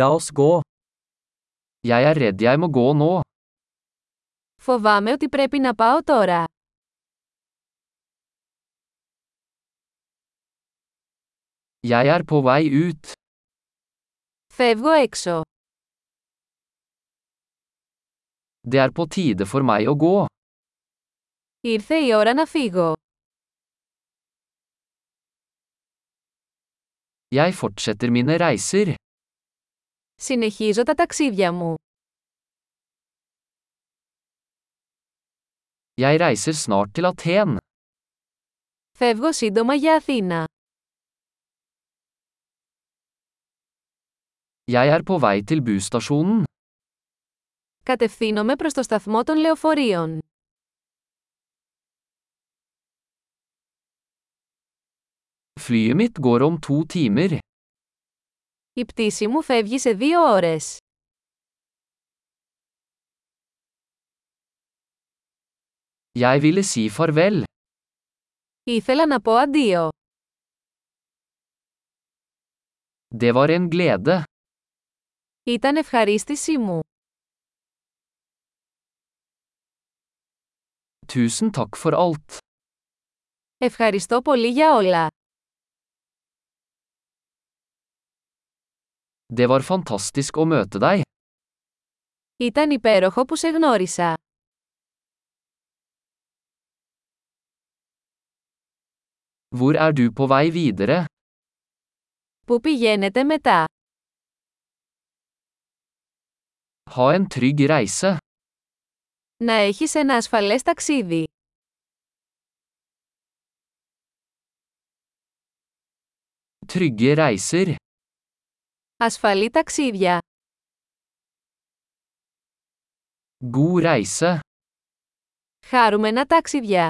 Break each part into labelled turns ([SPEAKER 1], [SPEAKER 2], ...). [SPEAKER 1] La oss gå. Jeg er redd jeg må gå nå.
[SPEAKER 2] Φοβάμαι ότι πρέπει να πάω τώρα.
[SPEAKER 1] Jeg er på vei ut.
[SPEAKER 2] Φεύγω έξω.
[SPEAKER 1] Det er på tide for meg å gå.
[SPEAKER 2] Ήρθε η ώρα να φύγω.
[SPEAKER 1] Jeg fortsetter mine reiser.
[SPEAKER 2] Συνεχίζω τα ταξίδια μου.
[SPEAKER 1] Jeg reiser snart til Aten.
[SPEAKER 2] Φεύγω σύντομα για Αθήνα.
[SPEAKER 1] Jeg er på vei til busstasjonen.
[SPEAKER 2] Κατευθύνομαι προς το σταθμό των λεωφορείων.
[SPEAKER 1] Flyet mitt går om to timer.
[SPEAKER 2] Η πτήση μου φεύγει σε δύο ώρες.
[SPEAKER 1] Jeg ville si farvel.
[SPEAKER 2] Ήθελα να πω αντίο.
[SPEAKER 1] Det var en glede.
[SPEAKER 2] Ήταν ευχαρίστησή μου.
[SPEAKER 1] Tusen takk for alt.
[SPEAKER 2] Ευχαριστώ πολύ για όλα.
[SPEAKER 1] Det var fantastisk å møte deg.
[SPEAKER 2] Ήταν υπέροχο που σε γνώρισα.
[SPEAKER 1] Hvor er du på vei videre?
[SPEAKER 2] Πού πηγαίνετε μετά.
[SPEAKER 1] Ha en trygg reise.
[SPEAKER 2] Να έχεις ένα ασφαλές ταξίδι.
[SPEAKER 1] Trygge reiser.
[SPEAKER 2] Ασφαλή ταξίδια.
[SPEAKER 1] God reise.
[SPEAKER 2] Χάρουμενα ταξίδια.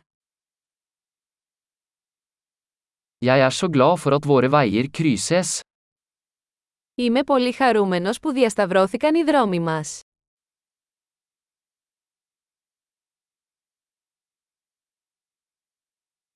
[SPEAKER 1] Jeg er så glad for at våre veier krysses.
[SPEAKER 2] Είμαι πολύ χαρούμενος που διασταυρώθηκαν οι δρόμοι μας.